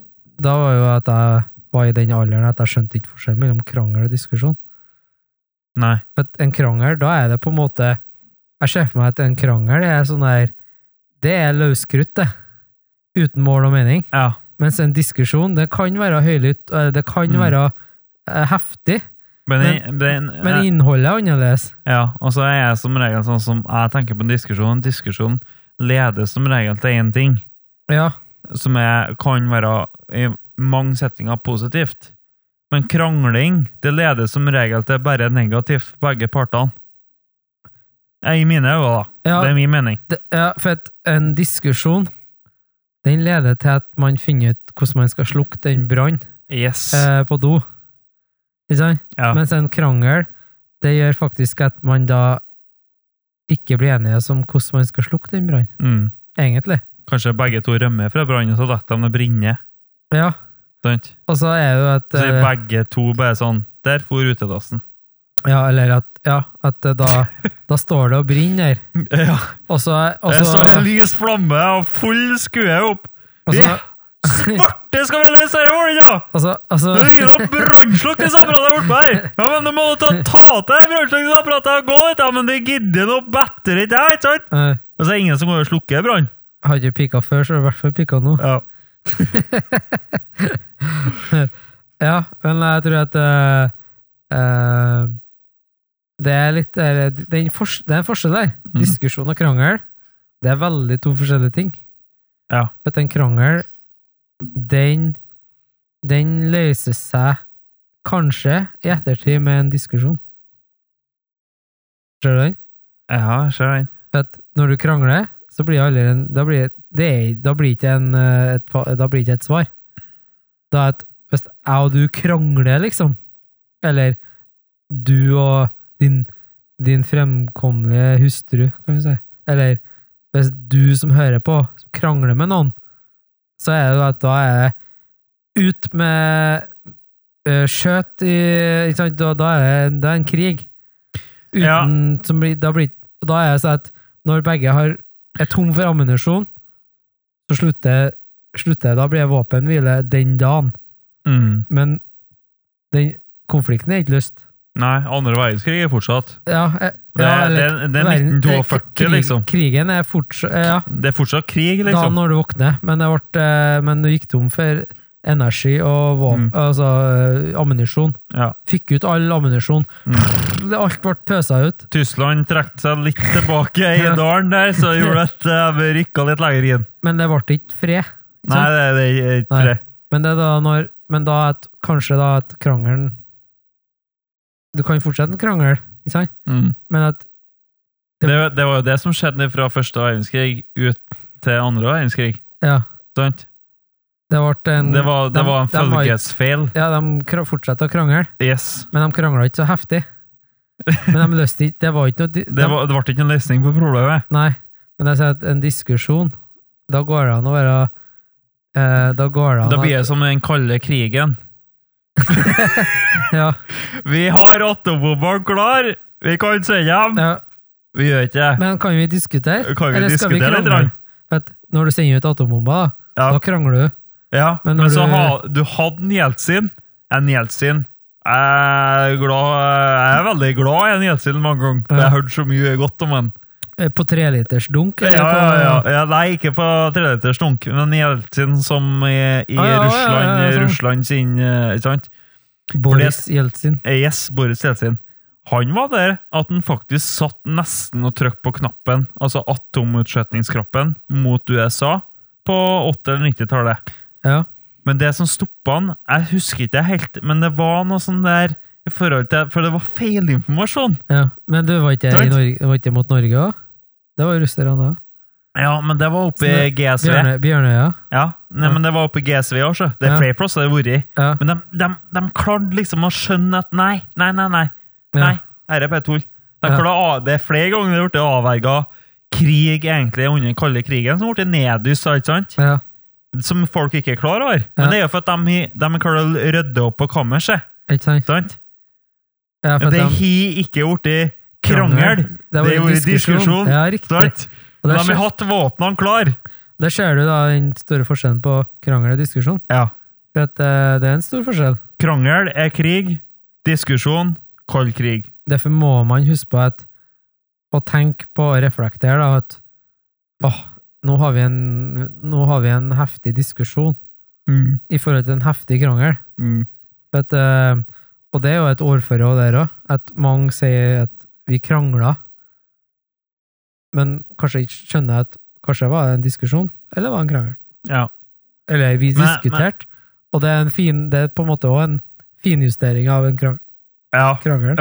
Da var jo at jeg var i den alderen at jeg skjønte ikke forskjellen mellom krangel og diskusjon. Nei. For at en krangel, da er det på en måte Jeg ser for meg at en krangel er sånn der Det er løsskrutt, det. Uten mål og mening. Ja. Mens en diskusjon, det kan være høylytt, og det kan Mm. være eh, heftig, Men, Men- men, men innholdet er annerledes. Ja, og så er jeg som regel sånn som jeg tenker på en diskusjon. En diskusjon leder som regel til én ting. Ja, som er, kan være i mange settinger positivt. Men krangling det leder som regel til bare negativt for begge partene. Ja, I mine øyne, da. ja, Det er min mening. det, ja for at en diskusjon, den leder til at man finner ut hvordan man skal slukke den brann Yes. eh, på do. Ikke sant? Ja. Mens en krangel, det gjør faktisk at man da ikke blir enige om hvordan man skal slukke den brann, Mm. egentlig. Kanskje begge to rømmer fra brannen, så lar de det brenne. Ja, Sant? og så er det jo at Så er eh, begge to bare sånn Der for utedassen. Ja, eller at Ja, at eh, da, da står det og brenner. Ja. Og så og Det står en så- lys flamme og full skue opp. og så- Ja. Svarte skal vi løse dette her, ja! og så- og Det er så- jo noe brannslukningsapparatet bortpå her! Ja, men du må ta, ta til brannslukningsapparatet og gå ut, ja, men det gidder noe bedre ikke jeg, ikke sant? Eh, Og så er det ingen som går og slukker brann. Har ikke pika før, så har det i hvert fall pika nå. Ja. Ja, men jeg tror at eh, eh, Det er litt eller, det, er en fors, det er en forskjell der. Mm. Diskusjon og krangel, det er veldig to forskjellige ting. Ja. For at en krangel, den, den løser seg kanskje i ettertid med en diskusjon. Ser du den? Ja, jeg ser den. For at når du krangler, så blir det aldri en Da blir det, er- da blir ikke en, eh, et, fa- da blir ikke et svar. Da er et Hvis jeg og du krangler, liksom, eller du og din, din fremkommelige hustru, kan vi si, eller hvis du som hører på, krangler med noen, så er det jo at da er det ut med eh, skjøt i ikke sant? Da, da, er det, da er det en krig. Uten, Ja. som blir, da, blir, og da er det sånn at når begge har, er tom for ammunisjon, så slutter, slutter da blir det våpenhvile den dagen. Mm. Men den konflikten er ikke løst. Nei, andre verdenskrig er fortsatt. Ja, eh, Det, det, ja, eller- det er verden- eh, 1942, krig- liksom. Krigen er fortsatt Ja, Det er fortsatt krig, da liksom. når du våkner, men, det ble, eh, men du gikk tom for energi og Mm. våpen, altså eh, ammunisjon. Ja. Fikk ut all ammunisjon. Mm. Det- Alt ble pøsa ut. Tyskland trakk seg litt tilbake i Ja. dalen der, så det gjorde at jeg rykka litt lenger inn. Men det ble ikke fred. ikke Nei, sant? det, det er ikke Nei. det. Men det er da når Men da at kanskje da at krangelen Du kan fortsette en krangel, ikke sant? Mm. Men at Det, det var jo det som skjedde fra første verdenskrig ut til andre verdenskrig. Ja, Sant? det ble en Det var, det dem- var en dem har ikke- følgesfeil. Ja, de kra- fortsatte å krangle, Yes. men de krangla ikke så heftig. Men de løste ikke Det var ikke noe di- Det, var, det ble ikke noen løsning på problemet. Nei, men jeg sier at en diskusjon Da går det an å være eh, Da går det an Da blir at- det som den kalde krigen. ja, Vi har atombombene klar! Vi kan sende dem! ja, Vi gjør ikke det. Men kan vi diskutere? Kan vi Eller skal vi diskutere litt? krangle? Rand? For at når du sender ut atombomber, da, Ja. da krangler du. Ja, Men men, når så du- ha, du hadde en Jeltsin. En Jeltsin. Jeg er, glad, jeg er veldig glad i en Jeltsin mange ganger. for Ja. Jeg har hørt så mye godt om han. eh, På trelitersdunk? Ja, eller ja, på- eh, ja, ja. Nei, ikke på tredjeters dunk, men Jeltsin som i, i Ah, ja, ja, Russland, ja, ja, sånn. Russland sin eh, ikke sant? Boris Jeltsin. Eh, Yes, Boris Jeltsin. Han var der at han faktisk satt nesten og trykte på knappen, altså atomutskjetningsknappen, mot USA på 80- eller 90-tallet. Ja. Men det som stoppa han Jeg husker ikke helt, men det var noe sånn der i forhold til, For det var feilinformasjon! ja. Men du var ikke, i Sant? Norge, var ikke mot Norge òg? Det var russerne òg. Ja, men det var oppe i Så GSV. Bjørnø- Bjørnøya. Ja, nei, men det var oppe i GSV også. Det Ja. er flere plasser det har vært i. Ja. Men de, de, de klarte liksom å skjønne at nei, nei, nei, nei. Nei, Ja. dette er bare tull. De Ja. klarte å av- Det er flere ganger det har blitt avverga krig egentlig under den kalde krigen, som ble neddyssa, ikke sant? Ja. Som folk ikke er klar over. Men Ja. det er jo for at de, de klarer å rydde opp på kammerset, Ikke sant? sant? Ja, for Det at de- har ikke blitt krangel. Det Det har har vært vært diskusjon. diskusjon. Ja, riktig. sant? De Og der, har ser, hatt våpnene klare. der ser du da den store forskjellen på krangel og diskusjon. Ja. For at, eh, det er en stor forskjell. Krangel er krig. Diskusjon kald krig. Derfor må man huske på at å tenke på og reflektere da, at åh, nå har, vi en, nå har vi en heftig diskusjon i forhold til en heftig krangel. Mm. For At, eh, og det er jo et ordfører og der òg, at mange sier at vi krangla, men kanskje ikke skjønner at kanskje var det en diskusjon, eller var det en krangel? Ja. Eller vi Men- diskuterte, og det er, en fin, det er på en måte òg en finjustering av en krang- ja. krangel.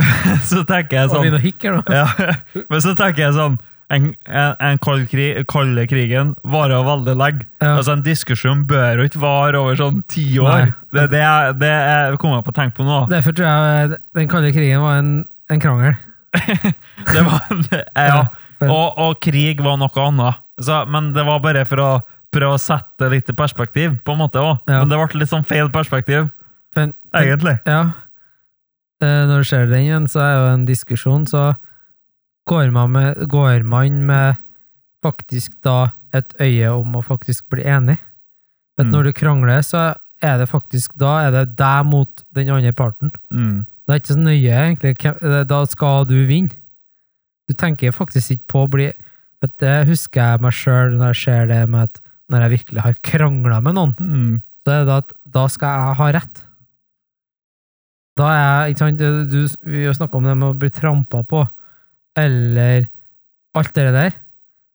Så tenker jeg Og sånn begynner å hikke her nå. ja. Men så tenker jeg sånn En, en, en kald krig, kalde krigen varer veldig lenge. Ja. Altså En diskusjon bør jo ikke vare over sånn ti år. Nei. Det, det, er- det er- kommer jeg på å tenke på nå. Derfor tror jeg eh, den kalde krigen var en, en krangel. Det var, ja. for- Og, og krig var noe annet. Så, men det var bare for å prøve å sette det litt i perspektiv, på en måte òg. Ja. Men det ble litt sånn feil perspektiv, Men, egentlig. ja. Eh, Når du ser den igjen, så er jo en diskusjon, så går man med, går man med faktisk da et øye om å faktisk bli enig. Men Mm. når du krangler, så er det faktisk da er det deg mot den andre parten. Mm. Det er ikke så nøye, egentlig. hvem- eh, Da skal du vinne. Du tenker faktisk ikke på å bli Vet du, Det husker jeg meg sjøl når jeg ser det med at når jeg virkelig har krangla med noen, Mm. så er det da at da skal jeg ha rett. Da er jeg ikke sant, du, du- Vi har snakka om det med å bli trampa på, eller alt det der.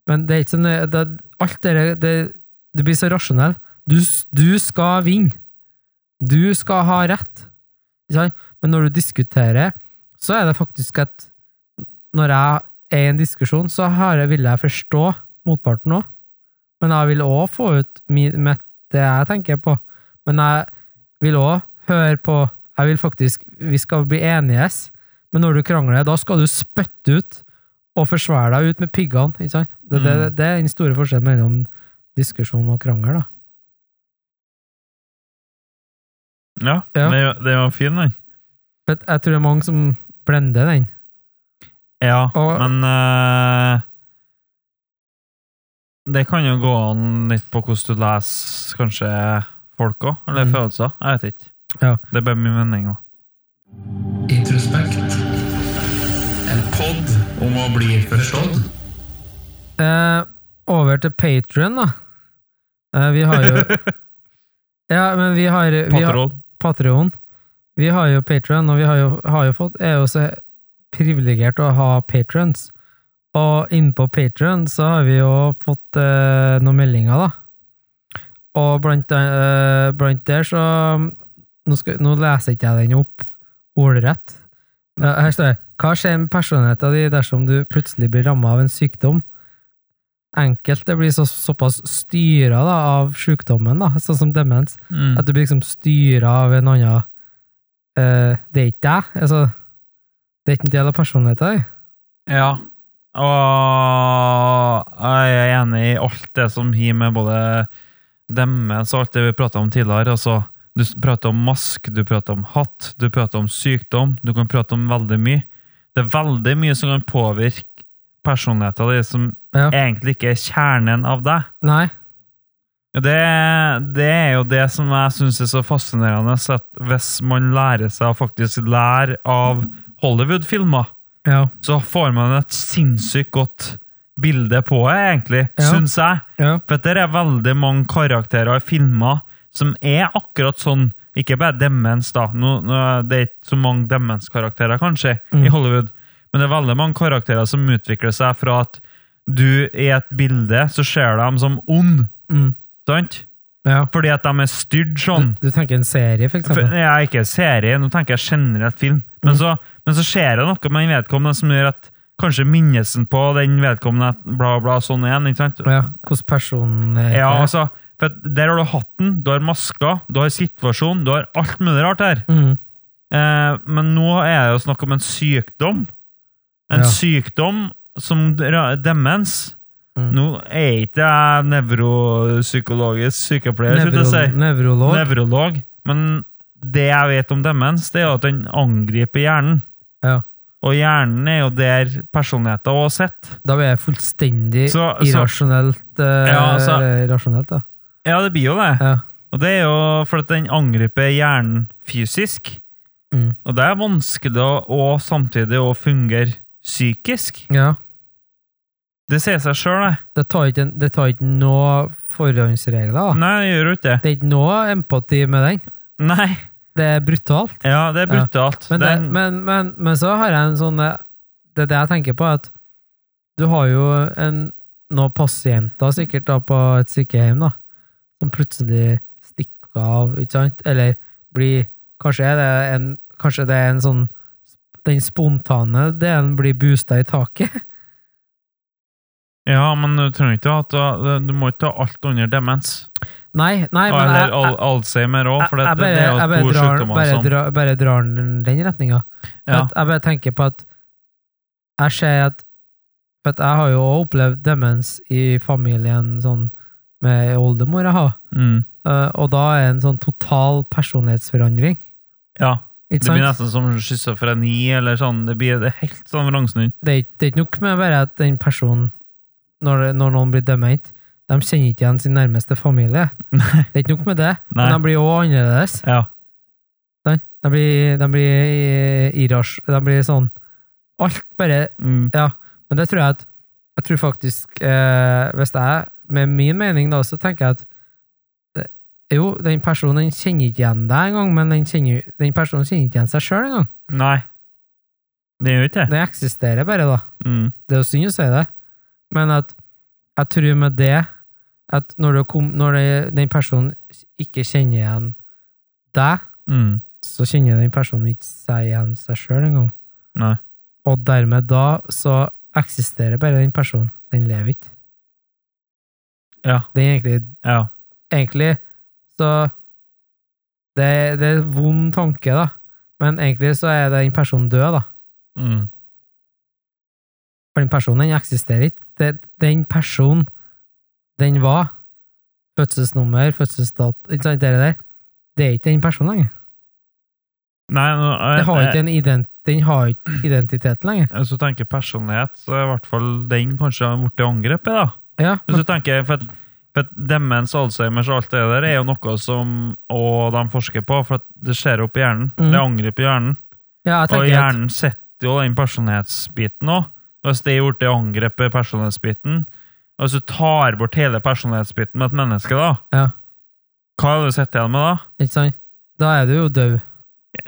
Men det er ikke så nøye det, Alt det der Du blir så rasjonell. Du, s- du skal vinne. Du skal ha rett. Ikke sant? Men når du diskuterer, så er det faktisk at når jeg er i en diskusjon, så har jeg, vil jeg forstå motparten òg. Men jeg vil òg få ut mi- mitt det jeg tenker på. Men jeg vil òg høre på Jeg vil faktisk Vi skal bli enige, men når du krangler, da skal du spytte ut og forsvære deg ut med piggene. ikke sant? Det, det, Mm. det er den store forskjellen mellom diskusjon og krangel, da. Ja, Ja. Det, det var fin, den. Men jeg tror det er mange som blender den. Ja, Og- men eh, Det kan jo gå an litt på hvordan du leser kanskje folk òg, eller Mm. følelser. Jeg vet ikke. Ja. Det er bare min mening, da. Introspekt. En pod om å bli forstått. Eh, over til Patron, da. Eh, vi har jo Ja, men vi har, vi har Patron. Patreon. Vi har jo Patreon, og vi har jo, har jo fått, er jo så privilegert å ha patrons. Og innpå Patreon så har vi jo fått eh, noen meldinger, da. Og blant, eh, blant der så nå, skal, nå leser ikke jeg den opp ordrett. Eh, Her står det Hva skjer med personligheten din dersom du plutselig blir ramma av en sykdom? Enkelte blir så, såpass styra av sykdommen, da, sånn som demens, Mm. at du blir liksom styra av en annen eh, Det er ikke deg. Altså, det er ikke en del av personligheten din. Ja. Og jeg er enig i alt det som har med både demens og alt det vi prata om tidligere. Altså, du s- prater om mask, du prater om hatt, du prater om sykdom. Du kan prate om veldig mye. Det er veldig mye som kan påvirke personligheten din, som Ja. egentlig ikke er kjernen av deg. Nei. Og Det, det er jo det som jeg syns er så fascinerende, at hvis man lærer seg å faktisk lære av Hollywood-filmer Ja. så får man et sinnssykt godt bilde på det, egentlig, Ja. syns jeg. Ja. For det er veldig mange karakterer i filmer som er akkurat sånn, ikke bare demens, da. Nå, nå, det er ikke så mange demenskarakterer, kanskje, Mm. i Hollywood. Men det er veldig mange karakterer som utvikler seg fra at du i et bilde så ser dem som ond, Mm. sant? ja. Fordi at de er styrt sånn. Du tenker en serie, for For, eksempel? jeg er ikke serie, nå tenker jeg generelt film. Men, Mm. så, men så skjer det noe med den vedkommende som gjør at kanskje minnelsen på den vedkommende at bla, bla, sånn er den, ikke sant? Ja. Hvordan personen er. Ja, altså, for at der har du hatten, du har maska, du har situasjonen, du har alt mulig rart her. mm. Eh, men nå er det jo snakk om en sykdom. En Ja. sykdom som ra- demens. Mm. Nå er ikke jeg nevropsykologisk sykepleier, skulle jeg Nevro, si nevrolog. nevrolog. Men det jeg vet om demens, det er jo at den angriper hjernen. Ja. Og hjernen er jo der personligheten òg sitter. da blir jeg fullstendig Så, så irrasjonelt eh, Ja, altså- eller rasjonelt, da. Ja, det blir jo det. Ja. Og det er jo fordi at den angriper hjernen fysisk. Mm. Og det er vanskelig å og samtidig å fungere psykisk. ja. Det sier seg sjøl, det. Det tar ikke, det tar ikke noe forhåndsregler, da. Nei, det gjør jo ikke det. Det er ikke noe empati med den. Nei. Det er brutalt. Ja, det er Ja. brutalt. Men, det, Den- men, men, men så har jeg en sånn eh, Det er det jeg tenker på, at du har jo en, noen pasienter sikkert da på et sykehjem da, som plutselig stikker av, ikke sant? Eller blir Kanskje er det en, kanskje det er en sånn Den spontane delen blir boosta i taket. ja, men du trenger ikke at Du må ikke ta alt under demens. Nei, nei, men Eller jeg, jeg, al Alzheimer òg, jeg, for det, jeg bare, det er jo jeg bare to drar, sykdommer bare, som drar, bare drar den den retninga. ja. At jeg bare tenker på at jeg ser at for at jeg har jo også opplevd demens i familien sånn med oldemor jeg har. Mm. Eh, og da er en sånn total personlighetsforandring. Ja. Ikke Det blir sant? nesten som schizofreni, eller sånn. Det blir det er helt sånn vrangsnudd. Det er, ikke- det er ikke nok med bare at den personen, når, det- når noen blir dement, de kjenner ikke igjen sin nærmeste familie. Det er ikke nok med det, Nei. men de blir også annerledes. Ja. sant? De blir, de blir irras... De blir sånn Alt bare Mm. Ja, men det tror jeg at Jeg tror faktisk eh, Hvis jeg, med min mening da, så tenker jeg at eh, jo, den personen den kjenner ikke igjen deg engang, men den, kjenner, den personen kjenner ikke igjen seg sjøl engang. Nei. Det gjør ikke det. Den eksisterer bare, da. Mm. Det er jo synd å si det, men at jeg tror med det at når, det kom, når det, den personen ikke kjenner igjen deg, Mm. så kjenner den personen ikke seg igjen seg sjøl engang. Nei. Og dermed da så eksisterer bare den personen. Den lever ikke. Ja. Det er egentlig, Ja. egentlig så det, det er en vond tanke, da. Men egentlig så er den personen død, da. Mm. For den personen den eksisterer ikke. Det- Den personen den var, fødselsnummer, fødselsdato, ikke sant, det der, det er ikke den personen lenger. Nei, nå, jeg, Det har ikke en ident, den har ikke identitet lenger. Hvis du tenker personlighet, så er i hvert fall den kanskje blitt angrepet, da. Ja, Hvis men, du tenker, for, at, for at demens, Alzheimers og alt det der er jo noe som og de forsker på, for at det skjer opp i hjernen. Mm. Det angriper hjernen. ja, jeg Og tenker at hjernen setter jo den personlighetsbiten òg. Hvis det er gjort det angrepet personlighetsbiten, og hvis du tar bort hele personlighetsbiten med et menneske, da, Ja. hva er det du sitter igjen med da? Ikke sant? Da er du jo død.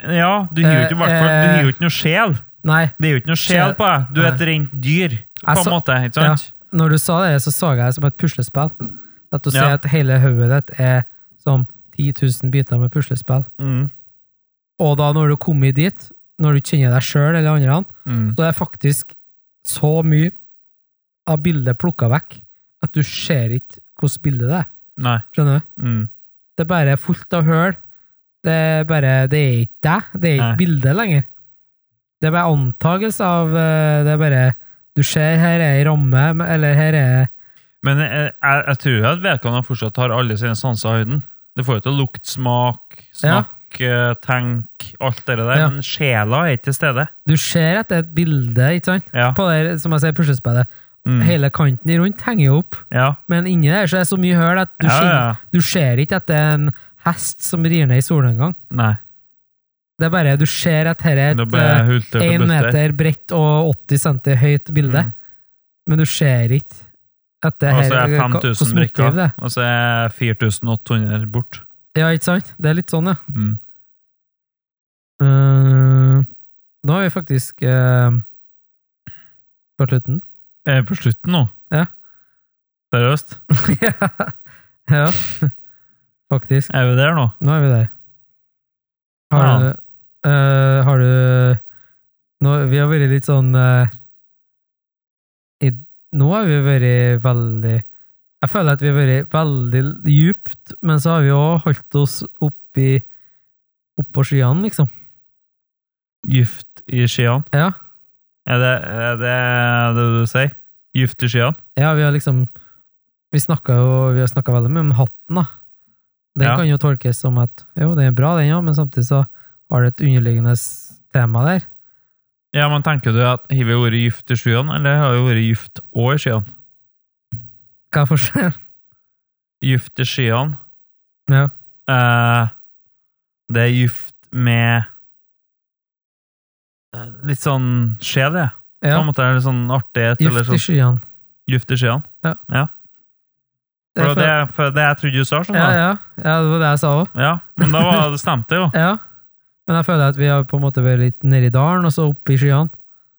Ja, du har jo ikke, i hvert fall- du Eh, har jo ikke noe sjel. Nei, Det er jo ikke noe sjel Sjel- på deg. Du er et rent dyr, på så- en måte. ikke sant? når du sa det, så så jeg det som et puslespill. At du Ja. sier at hele hodet ditt er som 10 000 biter med puslespill. Mm. Og da når du kommer dit, når du ikke kjenner deg sjøl eller andre, Mm. så er faktisk så mye av bildet plukka vekk at du ser ikke hvordan bildet det er. Nei. Skjønner du? Mm. Det er bare fullt av høl. Det er bare Det er ikke deg. Det er Nei. ikke bildet lenger. Det er bare antagelse av eh, Det er bare Du ser, her er ei ramme, eller her er Men jeg, jeg, jeg tror at vedkommende fortsatt har alle sine sanser i høyden. Det får jo til lukt, smak, snakk, eh, tenk, alt det der. Ja. Men sjela er ikke til stede. Du ser at det er et bilde, ikke sant? Ja. På det, som jeg sier, puslespillet. Mm. Hele kanten rundt henger jo opp, ja. men inni der så er det så mye høl at du, ja, ja. kjenner, du ser ikke at det er en hest som rir ned i solnedgang. Nei. Det er bare, du ser at her er Det et ble eh, hulter til en bøtter. meter bredt og 80 cm høyt bilde, Mm. men du ser ikke at det Og her så er hva- hvordan 5000 motiv brikker, det er. og så er 4800 bort. Ja, ikke sant? Det er litt sånn, ja. Mm. Eh, nå er vi faktisk eh, på slutten. Er vi på slutten nå? Ja. Seriøst? ja, faktisk. Er vi der nå? Nå er vi der. Har Ja. du eh, Har du nå, Vi har vært litt sånn eh, i, Nå har vi vært veldig Jeg føler at vi har vært veldig djupt, men så har vi òg holdt oss oppi Oppå skyene, liksom. Gift i skiene? Ja. Er det er det, det du sier? Gift i skiene? Ja, vi har liksom Vi snakka jo Vi har snakka veldig mye om hatten, da. Den Ja. kan jo tolkes som at jo, den er bra, den, ja, men samtidig så har det et underliggende s- tema der. Ja, men tenker du at har vi vært gift i skyene, eller har vi vært gift og i skyene? Hva er forskjellen? Gift i skyene, Ja. eh, det er gift med eh, litt sånn sjel, det. På ja. en måte er det sånn artighet, eller Gift i sånn skyene. gift i skyene. Ja. For det, for- var det, for det jeg trodde du sa, sånn ja, da. Ja, ja, ja, det var det jeg sa òg. men da var, det stemte det jo. Ja. Men jeg føler at vi har på en måte vært litt nedi dalen, og så oppe i skyene.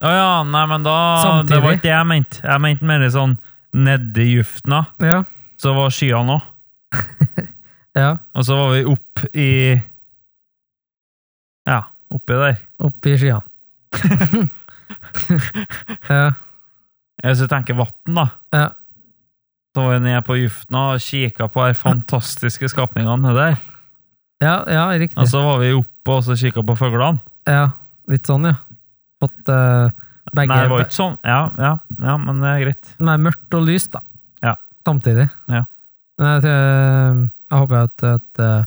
Ja, ja, nei, men da, det Samtidig. var ikke det jeg mente. Jeg mente mer sånn nedi giftene, Ja. så var skyene også. ja. Og så var vi opp i, ja, oppi der. Oppe i skyene. ja. Hvis du tenker vann, da. Ja. Så var jeg nede på Jufna og kikka på de fantastiske skapningene der. Ja, ja, riktig. Og så var vi oppe og så kikka på fuglene. Ja, litt sånn, ja. Fått eh, begge Nei, det var ikke sånn. Ja, ja, ja, men det er greit. Nei, mørkt og lyst, da. Ja. Samtidig. Ja. Men Men jeg, tror- eh, jeg håper at, at eh,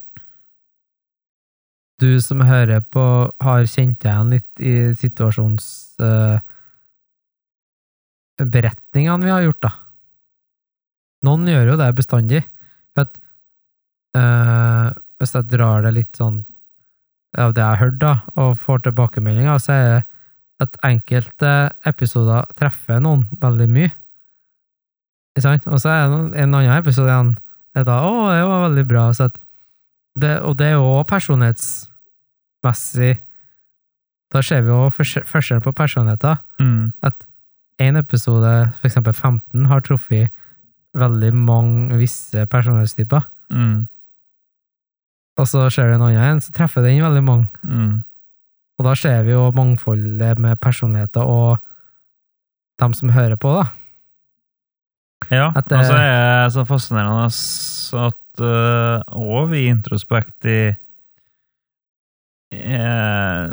du som hører på, har kjent deg igjen litt i situasjonsberetningene vi har gjort, da. Noen gjør jo det bestandig. For at, eh, hvis jeg drar det litt sånn av det jeg har hørt, da, og får tilbakemeldinger, så er det at enkelte episoder treffer noen veldig mye. Ikke sant? Og så er det noen- en annen episode igjen er da, å, det var veldig bra. Så at det, og det er jo også personlighetsmessig Da ser vi jo forskjell forskjell på personligheter. Mm. En episode, for eksempel 15, har truffet veldig mange visse personlighetstyper. Mm. Og så ser du en annen en, så treffer den veldig mange. Mm. Og da ser vi jo mangfoldet med personligheter og dem som hører på, da. Ja, At det- og så er det så fascinerende ass, at eh, også vi i introspekt i eh,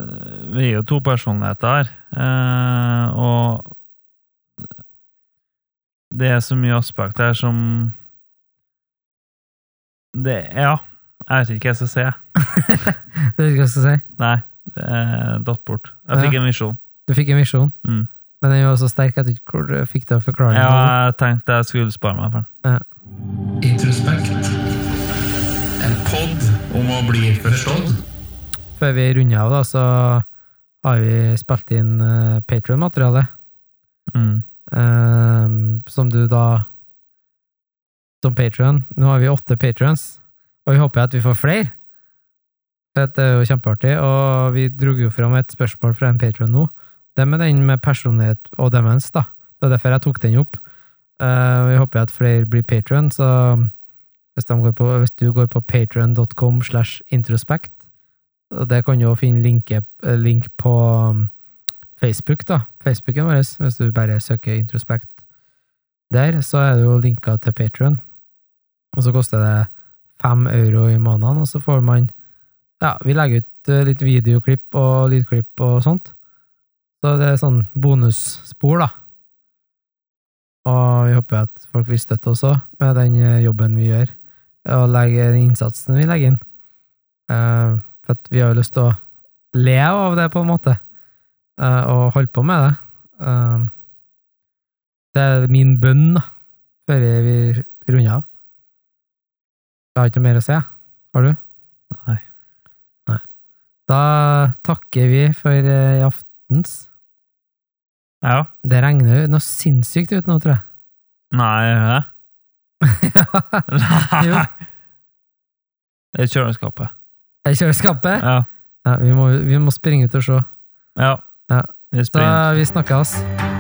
Vi er jo to personligheter her, eh, og det er så mye aspekt her som det, Ja, jeg vet ikke hva jeg skal si. jeg. Det er ikke hva jeg skal si. Nei, det er datt bort. Jeg fikk en visjon. Du fikk en visjon, Mm. men den var så sterk at du ikke kor- fikk det å forklare. den. Ja, jeg tenkte jeg skulle spare meg for den. Introspekt. En pod om å bli forstått. Før vi runder av, da, så har vi spilt inn uh, Patrion-materiale, Mm. ehm, som du da Som Patrion. Nå har vi åtte patrions, og vi håper at vi får flere. For at Det er jo kjempeartig, og vi dro jo fram et spørsmål fra en patrion nå. Det med den med personlighet og demens, da. Det er derfor jeg tok den opp. Eh, vi håper at flere blir patrion, så hvis, de går på, hvis du går på patrion.com slash introspekt, og det kan du jo finne linke, link på um, Facebook, da. Facebooken vår, hvis du bare søker introspekt der, så er det jo linka til Patrion. Og så koster det fem euro i måneden, og så får man Ja, vi legger ut eh, litt videoklipp og lydklipp og sånt. Så det er sånn bonusspor, da. Og vi håper at folk vil støtte oss òg, med den eh, jobben vi gjør, og legge den innsatsen vi legger inn. Eh, for at vi har jo lyst til å leve av det, på en måte, eh, og holde på med det. Eh, det er min bønn, da, før vi runder av. Jeg har ikke noe mer å si, jeg. Har du? Nei. Da takker vi for eh, i aftens. Ja. Det regner jo noe sinnssykt ut nå, tror jeg. Nei, gjør det? Jo. Nei! Det er kjøleskapet. Er kjøleskapet? Ja. Ja, vi, må, vi må springe ut og se. ja. Ja. Vi Så springer. vi snakkes.